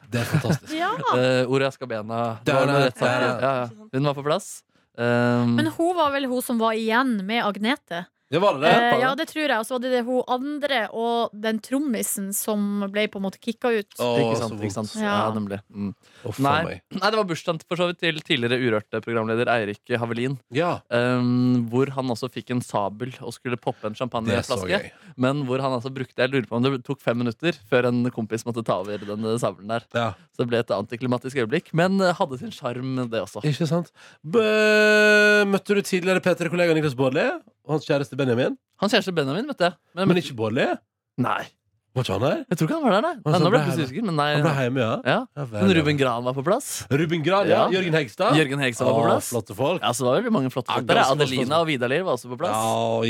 Speaker 2: Det er fantastisk.
Speaker 3: Ja.
Speaker 4: Eh, Orea Skabena. Det var
Speaker 2: Der,
Speaker 4: noe
Speaker 2: der,
Speaker 4: rett sak.
Speaker 2: der.
Speaker 4: Ja, ja. Hun var på plass. Em,
Speaker 3: Men hun var vel hun som var igjen med Agnete?
Speaker 2: Det var det, det.
Speaker 3: Eh, ja, det tror jeg. Og så var det, det hun andre og den trommisen som ble på en måte kicka ut.
Speaker 2: Å,
Speaker 4: ikke
Speaker 2: så
Speaker 4: sant,
Speaker 2: vondt.
Speaker 4: ikke sant. Ja.
Speaker 3: Ja.
Speaker 4: nemlig. Mm.
Speaker 2: Å, faen
Speaker 4: Nei,
Speaker 2: meg.
Speaker 4: nei, det var bursdagen for så vidt til tidligere urørte programleder Eirik Havelin.
Speaker 2: Ja,
Speaker 4: Um, hvor han også fikk en sabel og skulle poppe en
Speaker 2: det er så
Speaker 4: champagneflaske.
Speaker 2: gøy.
Speaker 4: Men hvor han altså brukte Jeg lurer på om det tok fem minutter før en kompis måtte ta over den eh, sabelen der.
Speaker 2: Ja.
Speaker 4: Så det ble et antiklimatisk øyeblikk, men eh, hadde sin sjarm, det også.
Speaker 2: Ikke sant? Bø, møtte du tidligere P3-kollega Niklas Baarli og hans kjæreste Benjamin?
Speaker 4: Hans kjæreste Benjamin, vet jeg. Men,
Speaker 2: Men ikke Baarli?
Speaker 4: Nei,
Speaker 2: Var ikke han her?
Speaker 4: jeg tror ikke han var der, nei.
Speaker 2: Han
Speaker 4: nei nå
Speaker 2: ble
Speaker 4: ble jeg plutselig usikker, men
Speaker 2: Han ble
Speaker 4: nei.
Speaker 2: hjemme, ja.
Speaker 4: Ja.
Speaker 2: ja vel,
Speaker 4: Men
Speaker 2: ja.
Speaker 4: Ruben Gran var på plass.
Speaker 2: Ruben Gran, ja.
Speaker 4: Ja.
Speaker 2: Jørgen Hegstad.
Speaker 4: Jørgen Hegstad var på
Speaker 2: Å,
Speaker 4: plass.
Speaker 2: Flotte folk.
Speaker 4: Ja, så det var veldig mange flotte
Speaker 2: Ja,
Speaker 4: folk der. ja.
Speaker 2: ganske masse
Speaker 4: Adelina
Speaker 2: folk.
Speaker 4: og Vidar-Lier var også på
Speaker 2: Ja,
Speaker 4: plass.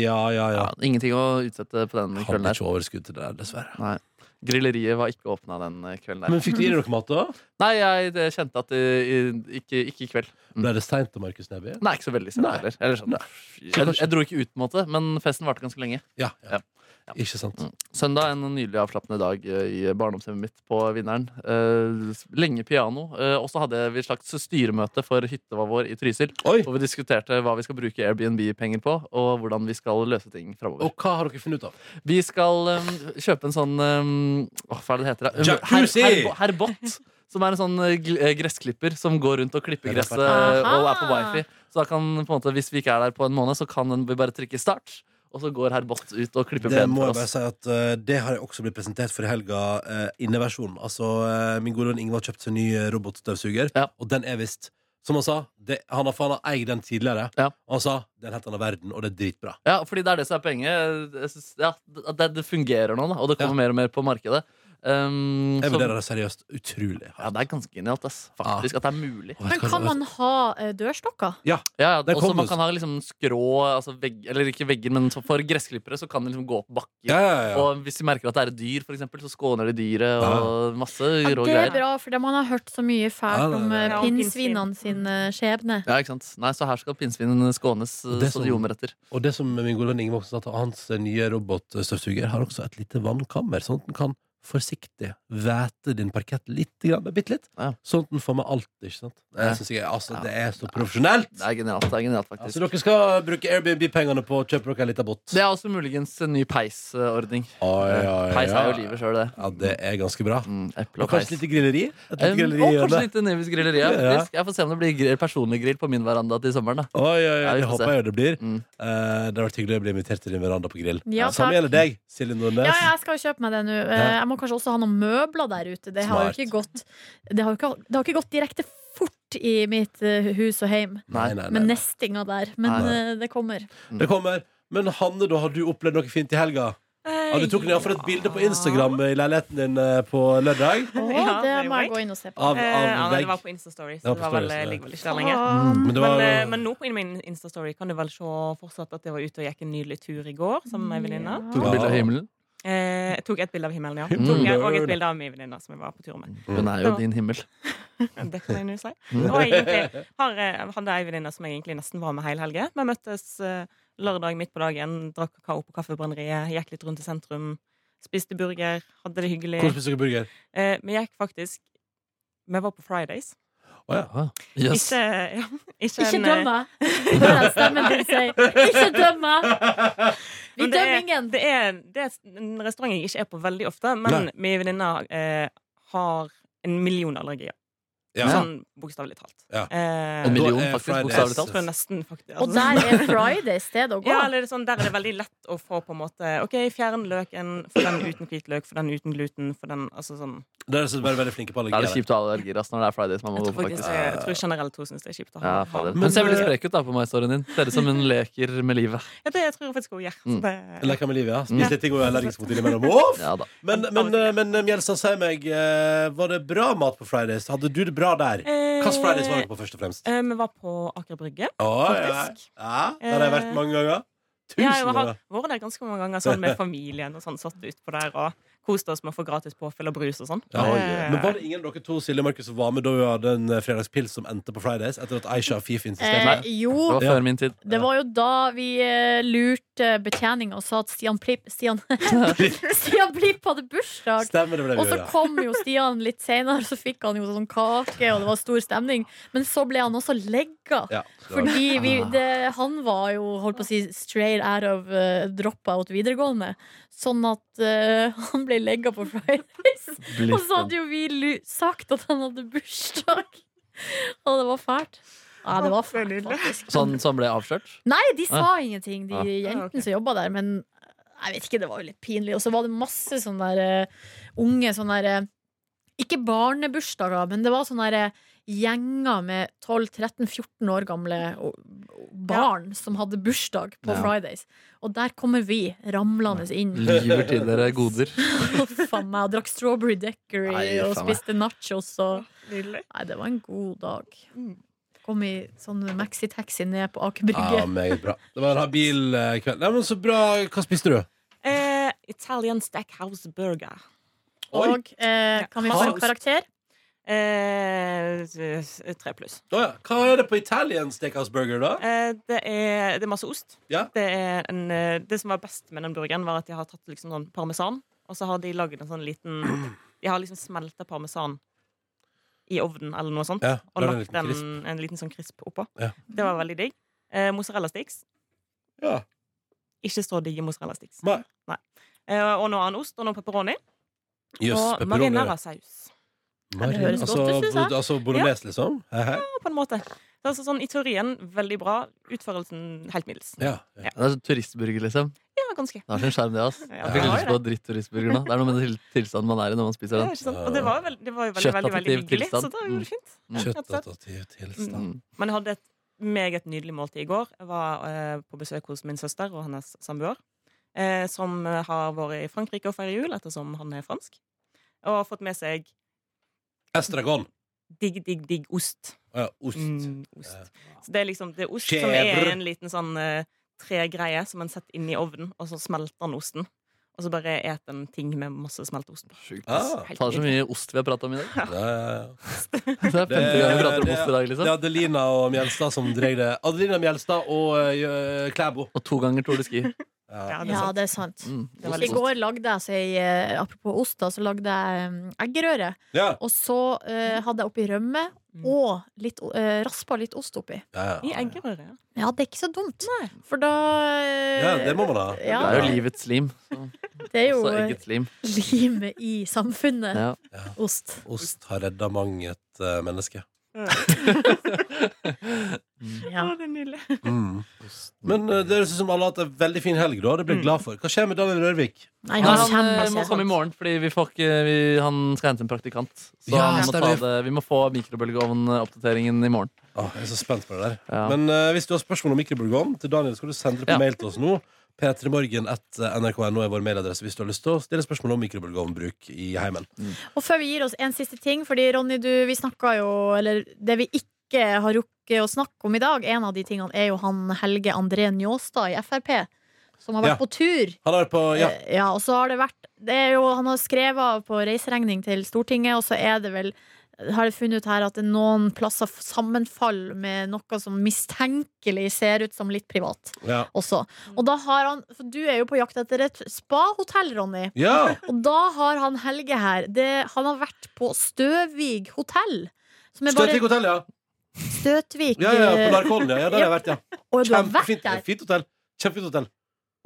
Speaker 2: ja, ja. ja.
Speaker 4: Ja, ingenting å utsette på den
Speaker 2: Hadde
Speaker 4: kvelden der.
Speaker 2: ikke overskudd til det, der, dessverre.
Speaker 4: Nei. Grilleriet var ikke åpna den eh, kvelden der.
Speaker 2: Men fikk du i deg noe mat, da?
Speaker 4: Nei, jeg eh, kjente at eh, ikke, ikke i kveld.
Speaker 2: Ble det seint av Markus Neby?
Speaker 4: Nei, ikke så veldig sent
Speaker 2: Nei.
Speaker 4: heller. Eller sånn.
Speaker 2: Nei.
Speaker 4: jeg, jeg dro ikke ut, på en måte, men festen varte ganske lenge.
Speaker 2: Ja, ja. Mm.
Speaker 4: Ja.
Speaker 2: Ikke sant.
Speaker 4: Søndag en nydelig avslappende dag eh, i barndomshjemmet mitt på Vinneren. Eh, lenge piano. Eh, og så hadde vi et slags styremøte for hytta vår i Trysil.
Speaker 2: Oi!
Speaker 4: Hvor vi diskuterte hva vi skal bruke Airbnb-penger på, og hvordan vi skal løse ting framover.
Speaker 2: Og hva har dere funnet ut av?
Speaker 4: Vi skal eh, kjøpe en sånn eh, Åh, Hva er det det heter? da?
Speaker 2: Jacuzzi!
Speaker 4: Her- herbo- Herbott. Som er en sånn eh, gl- eh, gressklipper som går rundt og klipper gresset eh, og er på
Speaker 3: Aha!
Speaker 4: wifi. Så da kan på en måte, hvis vi ikke er der på en måned, så kan den- vi bare trykke start. Og så går Herbott ut og klipper
Speaker 2: Det
Speaker 4: plenen
Speaker 2: må jeg
Speaker 4: for
Speaker 2: bare
Speaker 4: oss.
Speaker 2: si at eh, Det har jeg også blitt presentert for i helga, uh, inneversjon. Altså, eh, min gode venn Ingvar kjøpte seg ny eh, robotstøvsuger,
Speaker 4: Ja.
Speaker 2: og den er visst Som han sa, det, han har faen eid den tidligere.
Speaker 4: Ja.
Speaker 2: Og han sa den het han av verden, og det er dritbra.
Speaker 4: Ja, fordi det er det som er poenget. Jeg synes, ja, det, det fungerer nå, da, og det kommer mer og mer på markedet. Um,
Speaker 2: Jeg
Speaker 4: så-
Speaker 2: vurderer det seriøst utrolig
Speaker 4: ja,
Speaker 2: hardt.
Speaker 4: det er ganske genialt, ass. Faktisk, at det er mulig.
Speaker 2: Og vet
Speaker 3: Men
Speaker 2: du hva-
Speaker 3: kan man ha eh, dørstokker?
Speaker 4: Ja, ja,
Speaker 2: Det
Speaker 4: også
Speaker 2: kommer
Speaker 4: man
Speaker 2: jo-
Speaker 4: kan ha liksom skrå, altså vegg, eller ikke vegger, men så for gressklippere så kan de liksom gå opp bakker.
Speaker 2: Ja, ja, ja.
Speaker 4: Og hvis de merker at det er et dyr, for eksempel, så skåner de dyret og masse
Speaker 3: Ja,
Speaker 4: rå
Speaker 3: det
Speaker 4: greier.
Speaker 3: er bra, for man har hørt så mye
Speaker 2: Ja,
Speaker 3: fælt
Speaker 2: det er
Speaker 3: om eh,
Speaker 1: det. Ja,
Speaker 3: pinnsvinene sin eh, skjebne.
Speaker 4: Ja, ikke sant? Nei, så her skal pinnsvinen skånes, eh,
Speaker 2: Og det sånn.
Speaker 4: så
Speaker 2: som-
Speaker 4: de ljomer etter.
Speaker 2: Og det som min gode venn Inge Voksen sa, at hans nye robotstøvsuger har også et lite vannkammer, sånn at den kan forsiktig væte din parkett litt, grann, bitte litt,
Speaker 4: Ja.
Speaker 2: sånn at den får med alt, ikke sant? Det
Speaker 4: Ja.
Speaker 2: synes jeg, altså,
Speaker 4: Ja.
Speaker 2: det er så profesjonelt!
Speaker 4: Det er genialt, det er genialt faktisk.
Speaker 2: Altså, dere skal bruke Airbnb-pengene på å kjøpe dere en liten båt.
Speaker 4: Det er også muligens en ny peisordning.
Speaker 2: Oi, oi,
Speaker 4: Peis er jo
Speaker 2: oi.
Speaker 4: livet sjøl, det.
Speaker 2: Ja, det er ganske bra.
Speaker 4: Mm,
Speaker 2: Og
Speaker 4: eple og peis.
Speaker 2: kanskje litt grilleri? Et
Speaker 4: Um,
Speaker 2: litt grilleri i
Speaker 4: og kanskje
Speaker 2: hjørnet.
Speaker 4: litt Nevis grilleri. Ja.
Speaker 2: Ja.
Speaker 4: faktisk. Jeg får se om det blir grill, personlig grill på min veranda til sommeren. da
Speaker 2: Oi, oi,
Speaker 4: Ja,
Speaker 2: oi,
Speaker 4: vi
Speaker 2: det
Speaker 4: får se.
Speaker 2: håper jeg jo det blir.
Speaker 4: Mm.
Speaker 2: Eh, det har vært hyggelig å bli invitert til din veranda på grill.
Speaker 3: Ja,
Speaker 2: Samme
Speaker 3: takk.
Speaker 2: gjelder deg, Silje Nordnes.
Speaker 3: Ja, jeg skal jo kjøpe meg det nå. Eh,
Speaker 2: Ja.
Speaker 3: Jeg må kanskje også ha noen møbler der ute. Det har jo
Speaker 2: Smart.
Speaker 3: ikke gått, det har jo ikke, det har ikke gått direkte fort i mitt eh, hus og heim.
Speaker 2: Nei, nei, nei.
Speaker 3: Med nestinga der. Men
Speaker 4: Nei.
Speaker 3: eh, det kommer.
Speaker 2: Mm. Det kommer. Men Hanne, da har du opplevd noe fint i helga? Ja, du tok iallfall et bilde på Instagram i leiligheten din eh, på lørdag.
Speaker 3: Å, det
Speaker 1: Ja, det er jo
Speaker 3: må jeg
Speaker 1: greit.
Speaker 3: gå inn og se på.
Speaker 2: Av,
Speaker 1: Eh, ja,
Speaker 2: av
Speaker 1: nei, det var
Speaker 2: vegg.
Speaker 1: på Instastory,
Speaker 2: Det var på
Speaker 1: så det var vel,
Speaker 2: stories,
Speaker 1: eh,
Speaker 2: ja.
Speaker 1: ligger vel ikke der lenger.
Speaker 3: Mm.
Speaker 2: Men det
Speaker 1: Men,
Speaker 2: var
Speaker 1: eh, men nå på min Instastory kan du vel se fortsatt at jeg var ute og gikk en nydelig tur i går sammen med ei venninne.
Speaker 4: Tok
Speaker 2: Ja.
Speaker 4: bilde av himmelen.
Speaker 1: Eh, jeg tok et bilde av himmelen, ja.
Speaker 2: Mm.
Speaker 1: Tok jeg, og et bilde av min venninne som jeg var på tur med.
Speaker 4: Hun er jo din himmel.
Speaker 1: Det kan jeg nå si.
Speaker 2: Mm.
Speaker 1: Og jeg egentlig har, eh, hadde ei venninne som jeg egentlig nesten var med hele helgen. Vi møttes eh, lørdag midt på dagen, drakk kakao på Kaffebrenneriet, gikk litt rundt i sentrum, spiste burger, hadde det hyggelig.
Speaker 2: Hvordan spiser dere burger?
Speaker 1: Eh, vi gikk faktisk Vi var på Fridays.
Speaker 2: Å ja.
Speaker 4: Jøss.
Speaker 1: Ikke, ja, ikke,
Speaker 3: Ikke
Speaker 1: en, eh,
Speaker 3: døm meg! Hører jeg stemmen din si. Ikke døm meg! Vi
Speaker 1: Men det
Speaker 3: dømmer
Speaker 1: er-
Speaker 3: ingen.
Speaker 1: Det er, det er en restaurant jeg ikke er på veldig ofte, men
Speaker 2: Nei.
Speaker 1: min venninne eh, har en million allergier.
Speaker 2: ja.
Speaker 1: Sånn bokstavelig talt.
Speaker 2: Ja.
Speaker 1: Eh,
Speaker 4: En million,
Speaker 2: Da er
Speaker 4: faktisk.
Speaker 2: Fridays-
Speaker 4: Bokstavelig
Speaker 1: Jeg
Speaker 4: talt.
Speaker 1: tror nesten faktisk
Speaker 3: Og
Speaker 1: altså,
Speaker 3: der er Friday stedet å gå.
Speaker 1: Ja, eller det er sånn, Der er det veldig lett å få på en måte OK, fjern løken, for den uten hvitløk, for den uten gluten, for den altså sånn
Speaker 2: Dere er så bare veldig flinke på
Speaker 4: Da er det
Speaker 2: allergier.
Speaker 4: kjipt å ha allergier ass, når det er Fridays. Man må
Speaker 1: Jeg
Speaker 4: gå
Speaker 1: tror
Speaker 4: på,
Speaker 1: faktisk
Speaker 4: faktisk.
Speaker 1: jeg tror generelt hun syns det er kjipt å ha.
Speaker 4: Ja,
Speaker 1: ha.
Speaker 4: fader.
Speaker 2: Men,
Speaker 4: Hun ser veldig
Speaker 2: eh,
Speaker 4: sprek ut da på MyStoryen din. Ser ut som hun leker med livet.
Speaker 1: Ja, det tror jeg faktisk hun gjør. Så
Speaker 4: Mm.
Speaker 1: det,
Speaker 2: Leker med livet, ja.
Speaker 1: Ja.
Speaker 2: Spiser litt ting hun er allergisk mot innimellom. Uff!
Speaker 4: Ja da.
Speaker 2: Men, men, eh, men eh, Mjelsa, si meg, eh, var det bra mat på Fridays? Hadde du det bra der?
Speaker 1: Eh,
Speaker 2: Hvilken Fridays var dere på, først og fremst?
Speaker 1: eh, Vi var på Aker Brygge.
Speaker 2: Å,
Speaker 1: faktisk. Eh,
Speaker 2: Ja, ja. Der har jeg vært mange ganger.
Speaker 1: Ja, jeg
Speaker 2: Tusen
Speaker 1: har
Speaker 2: ganger.
Speaker 1: vært der ganske mange ganger sånn med familien og sånn, satt utpå der og kost oss med å få gratis påfyll og brus og sånn.
Speaker 2: Ja,
Speaker 1: Eh,
Speaker 2: Men var det ingen av dere to Silje og Markus, som var med da vi hadde en eh, fredagspils som endte på Fridays? Etter at Aisha og Fif insisterte?
Speaker 3: Eh, jo,
Speaker 4: Det var
Speaker 2: Ja.
Speaker 4: før min tid.
Speaker 3: Det var jo da vi eh, lurte betjeninga og sa at Stian Plipp Stian, Stian Plipp hadde bursdag.
Speaker 2: Stemmer det ble
Speaker 3: Og
Speaker 2: vi
Speaker 3: så
Speaker 2: gjorde?
Speaker 3: kom jo Stian litt seinere, så fikk han jo sånn kake, og det var stor stemning. Men så ble han også legga.
Speaker 2: Ja, det Ah. var-
Speaker 3: Fordi vi, det, han var jo holdt på å si straight out of uh, dropout videregående. Sånn at eh, han ble legga på Fridays. Og så hadde jo vi lu- sagt at han hadde bursdag. Og det var fælt. Ja, det var fælt, altså. faktisk.
Speaker 4: Sånn som ble avslørt.
Speaker 3: Nei, de sa ingenting, de
Speaker 4: Ah.
Speaker 1: Ah,
Speaker 3: jentene
Speaker 1: ok.
Speaker 3: som jobba der. Men jeg vet ikke, det var jo litt pinlig. Og så var det masse sånne der, eh, unge sånne der, eh, Ikke barnebursdager, men det var sånne der, eh, gjenger med 12-13-14 år gamle o- o- barn som hadde bursdag på
Speaker 4: Ja.
Speaker 3: Fridays. Og der kommer vi ramlende inn.
Speaker 4: Lyver til dere goder.
Speaker 3: Faen meg, og drakk strawberry decory
Speaker 4: Nei,
Speaker 3: og
Speaker 4: faen meg.
Speaker 3: spiste nachos og
Speaker 1: Nydelig.
Speaker 3: Nei, det var en god dag.
Speaker 1: Mm.
Speaker 3: Kom i sånn maxitaxi ned på Aker Brygge.
Speaker 4: Ah.
Speaker 2: Ja, meget bra. Det var en habil eh, kveld. Nei, men så bra. Hva spiste du?
Speaker 1: Eh, Italian Stackhouse Burger.
Speaker 2: Oi.
Speaker 3: Og eh, kan vi få en
Speaker 1: Kaos.
Speaker 3: karakter?
Speaker 1: Eh, s- tre pluss.
Speaker 2: Å ja. Hva er det på Italian Steakhouse Burger, da?
Speaker 1: Eh, det, er, det er masse ost.
Speaker 2: Ja.
Speaker 1: Det, er en, eh, det som var best med den burgeren, var at de har tatt liksom sånn parmesan, og så har de lagd en sånn liten De har liksom smelta parmesan i ovnen eller noe sånt,
Speaker 2: Ja,
Speaker 1: og
Speaker 2: la den
Speaker 1: lagt
Speaker 2: litt
Speaker 1: en,
Speaker 2: krisp.
Speaker 1: en liten sånn krisp oppå.
Speaker 2: Ja.
Speaker 1: Det var veldig digg. Eh, mozzarella sticks.
Speaker 2: Ja.
Speaker 1: Ikke så digge mozzarella sticks.
Speaker 2: Nei.
Speaker 1: Eh, og noe annen ost, og noe pepperoni.
Speaker 2: Jøss,
Speaker 1: og
Speaker 2: pepperoni.
Speaker 1: marinara-saus.
Speaker 2: Marin-
Speaker 3: Det høres godt
Speaker 2: altså,
Speaker 3: ut, synes jeg.
Speaker 2: bod- Altså bolognese, liksom? Hei, hei.
Speaker 1: Ja, på en måte. Det er altså sånn, I teorien veldig bra, utførelsen helt middels.
Speaker 2: Ja. ja.
Speaker 4: Det er sånn turistburger, liksom.
Speaker 1: Ja, ganske.
Speaker 4: Det har sin sjarm, det. ass
Speaker 1: Ja,
Speaker 4: Jeg
Speaker 2: det
Speaker 4: fikk
Speaker 2: har
Speaker 4: lyst på dritturistburger nå. Det er noe med den til- tilstanden man er i når man spiser
Speaker 1: Ja,
Speaker 4: den.
Speaker 1: ikke sant? Og det var jo veldig, det var jo veldig, veldig, veldig
Speaker 4: Kjøttaffektiv
Speaker 1: hyggelig, så
Speaker 4: tilstand.
Speaker 1: det
Speaker 2: Mm.
Speaker 1: var jo fint.
Speaker 2: Kjøttativ tilstand.
Speaker 4: Mm.
Speaker 1: Men jeg hadde et meget nydelig måltid i går. Jeg var eh, på besøk hos min søster og hennes samboer, eh, som eh, har vært i Frankrike og feirer jul, ettersom han er fransk. og fått med seg
Speaker 2: Estragon.
Speaker 1: digg, digg, digg ost.
Speaker 2: Ja, ost.
Speaker 1: Mm,
Speaker 2: Ja.
Speaker 1: ost. Så det er liksom det er ost som
Speaker 2: Skjebr.
Speaker 1: er en liten sånn eh, tregreie som man setter inn i ovnen, og så smelter den osten. Og så bare et en ting med masse smeltost på.
Speaker 2: Ah,
Speaker 1: Helt
Speaker 4: Tar så
Speaker 1: nydelig.
Speaker 4: mye ost vi har prata om i dag.
Speaker 2: ja, ja, ja.
Speaker 4: Det er
Speaker 2: Det,
Speaker 4: femte gang vi prater om
Speaker 2: det-
Speaker 4: ost i dag,
Speaker 2: det er
Speaker 4: liksom.
Speaker 2: Adelina og Mjelstad som dreier det. Adelina Mjelstad og eh, Klæbo.
Speaker 4: Og to ganger Tour de Ski.
Speaker 1: Ja, det er
Speaker 3: Ja,
Speaker 1: sant.
Speaker 3: det er sant.
Speaker 4: Mm.
Speaker 1: Det var
Speaker 4: ost,
Speaker 3: I
Speaker 1: litt
Speaker 4: ost.
Speaker 3: går lagde jeg så ei, eh, apropos ost, da, så lagde jeg em, eggerøre.
Speaker 2: Ja.
Speaker 3: Og så eh, hadde jeg oppi rømme
Speaker 1: Mm.
Speaker 3: og litt, o- eh, raspa litt ost oppi.
Speaker 2: Ja,
Speaker 1: I
Speaker 2: ja.
Speaker 1: eggerøre, ja.
Speaker 3: Ja, det er ikke så dumt.
Speaker 1: Nei.
Speaker 3: For da eh,
Speaker 2: ja, det må man ha.
Speaker 4: Det
Speaker 3: Ja,
Speaker 4: er jo livets lim. Så,
Speaker 3: det er jo eh,
Speaker 4: også eggets lim.
Speaker 3: limet i samfunnet.
Speaker 4: Ja.
Speaker 3: Ost.
Speaker 2: Ost har redda mang et eh, menneske.
Speaker 3: Ja.
Speaker 1: Å, det er nydelig.
Speaker 2: Men eh, det høres ut som alle har hatt en veldig fin helg. da Det blir jeg glad for Hva skjer med Daniel Rørvik?
Speaker 3: Nei,
Speaker 4: Nei,
Speaker 3: han
Speaker 4: han
Speaker 3: kommer
Speaker 4: eh, må komme i
Speaker 3: seg.
Speaker 4: morgen, fordi vi får ikke, vi, han skal hente en praktikant. Så
Speaker 2: Ja,
Speaker 4: han må ta
Speaker 2: stemmer.
Speaker 4: det, vi må få mikrobølgeovnoppdateringen i morgen.
Speaker 2: Åh, jeg er så spent på det der.
Speaker 4: Ja.
Speaker 2: Men eh, hvis du har spørsmål om mikrobølgeovn til Daniel, skal du sende det på
Speaker 4: Ja.
Speaker 2: mail til oss nå. eh, P3morgen.nrk.no er vår mailadresse hvis du har lyst til å stille spørsmål om mikrobølgeovnbruk i heimen.
Speaker 3: Og før vi gir oss en siste ting, fordi Ronny, du, vi snakka jo Eller det vi ikke har rukket å snakke om i dag, en av de tingene er jo han Helge André Njåstad i Frp, som har vært
Speaker 2: Ja.
Speaker 3: på tur.
Speaker 2: Han er på Ja.
Speaker 3: Eh, ja, og så har det vært det er jo, Han har skrevet av på reiseregning til Stortinget, og så er det vel har jeg funnet ut her at det er noen plasser f- sammenfall med noe som mistenkelig ser ut som litt privat
Speaker 2: Ja.
Speaker 3: også.
Speaker 2: Mm.
Speaker 3: Og da har han, for du er jo på jakt etter et spahotell, Ronny.
Speaker 2: ja.
Speaker 3: Og da har han Helge her det, Han har vært på Støvig hotell. Som er bare
Speaker 2: Støtvik hotell, ja.
Speaker 3: Støtvik. eh,
Speaker 2: Ja, ja, På Narkollen, ja. ja. Der har jeg vært, ja.
Speaker 3: og Eh, du har vært
Speaker 2: Kjempefint
Speaker 3: der?
Speaker 2: fint hotell. Kjempefint hotell.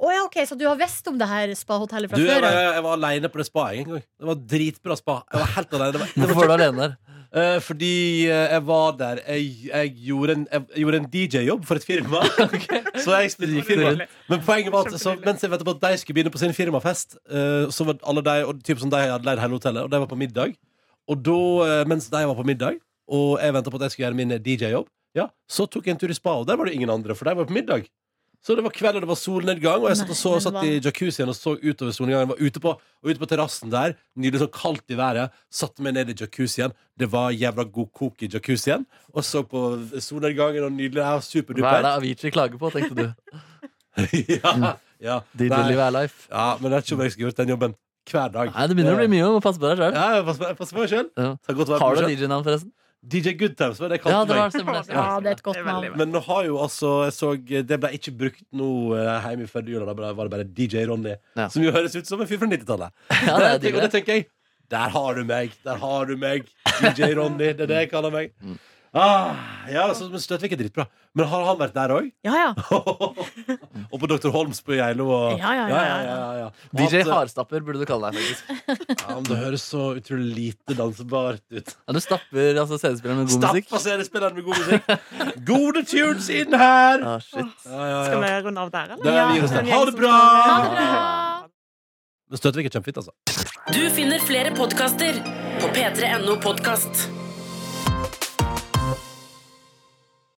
Speaker 3: Å ja, ok, Så du har visst om det her spahotellet fra
Speaker 2: Du, jeg,
Speaker 3: før?
Speaker 2: var-
Speaker 3: ja.
Speaker 2: jeg var aleine på det spaet en gang. Det var dritbra spa. Jeg var helt aleine. Det var, det
Speaker 4: Hvorfor
Speaker 2: var
Speaker 4: var du alene der?
Speaker 2: Eh, fordi eh, jeg var der Jeg, jeg gjorde en, jeg gjorde en DJ-jobb for et firma. Så jeg spilte i firma.
Speaker 1: Nydelig.
Speaker 2: Men poenget var at så,
Speaker 1: Kjempedeilig.
Speaker 2: mens jeg ventet på at de skulle begynne på sin firmafest, eh, så var alle de og typ som de hadde leid hele hotellet, og de var på middag. Og da, eh, mens de var på middag, og jeg venta på at jeg skulle gjøre min DJ-jobb, ja, så tok jeg en tur i spa, og der var det ingen andre, for de var på middag. Så det var kveld, og det var solnedgang, og jeg satt, og
Speaker 3: Nei,
Speaker 2: så,
Speaker 3: men
Speaker 2: satt
Speaker 3: hva-
Speaker 2: i jacuzzien og så utover solnedgangen. Var ute på, og ute på terrassen der, nydelig sånn kaldt i været, satte meg ned i jacuzzien. Det var jævla god kok i jacuzzien, og så på solnedgangen, og nydelig her,
Speaker 4: Hva er
Speaker 2: superduper.
Speaker 4: det Avicii klager på, tenkte du?
Speaker 2: ja, ja.
Speaker 4: DJ
Speaker 2: Nei.
Speaker 4: Live er life.
Speaker 2: Ja, men jeg vet ikke om jeg skulle gjort den jobben hver dag.
Speaker 4: Nei, det begynner å bli mye om å passe på deg sjøl.
Speaker 2: Ja, jeg passer på- jeg passer på meg sjøl.
Speaker 4: Ja. Har
Speaker 2: Har
Speaker 4: du et DJ-navn, forresten?
Speaker 2: DJ Goodtimes? var Det jeg kalte
Speaker 4: Ja, det var
Speaker 2: meg.
Speaker 4: stemmer det.
Speaker 3: Ja, det er et godt
Speaker 1: Det er veldig
Speaker 3: navn.
Speaker 1: bra.
Speaker 2: Men nå har jo altså jeg så, Det ble ikke brukt nå eh, hjemme før jula. Da ble- var det bare DJ Ronny.
Speaker 4: Ja.
Speaker 2: Som jo høres ut som en fyr fra 90-tallet.
Speaker 4: Ja, det
Speaker 2: det,
Speaker 4: er digg,
Speaker 2: og det
Speaker 4: det.
Speaker 2: tenker jeg. Der har du meg! Der har du meg! DJ Ronny. Det er det jeg kaller meg.
Speaker 4: Mm.
Speaker 2: Ah, ja, så, men Støtvik er dritbra. Men har han vært der òg?
Speaker 3: Ja, ja.
Speaker 2: og på Dr. Holms på Geilo? Og...
Speaker 3: Ja, ja, ja, ja, ja.
Speaker 2: ja, ja. Og
Speaker 4: DJ
Speaker 2: at, eh,
Speaker 4: Hardstapper burde du kalle deg. faktisk
Speaker 2: Ja, men Det høres så utrolig lite dansbart ut.
Speaker 4: Ja, du stapper altså, CD-spilleren med god musikk.
Speaker 2: Stappa seriespilleren med god musikk. Gode tunes inn her!
Speaker 4: Ah, shit.
Speaker 2: Ja, ja, ja.
Speaker 1: Skal vi runde av der, eller?
Speaker 2: Det er vi hos deg. Ha det bra!
Speaker 3: Ha det bra!
Speaker 2: Men Støtvik er kjempefint, altså.
Speaker 6: Du finner flere podkaster på p3.no podkast.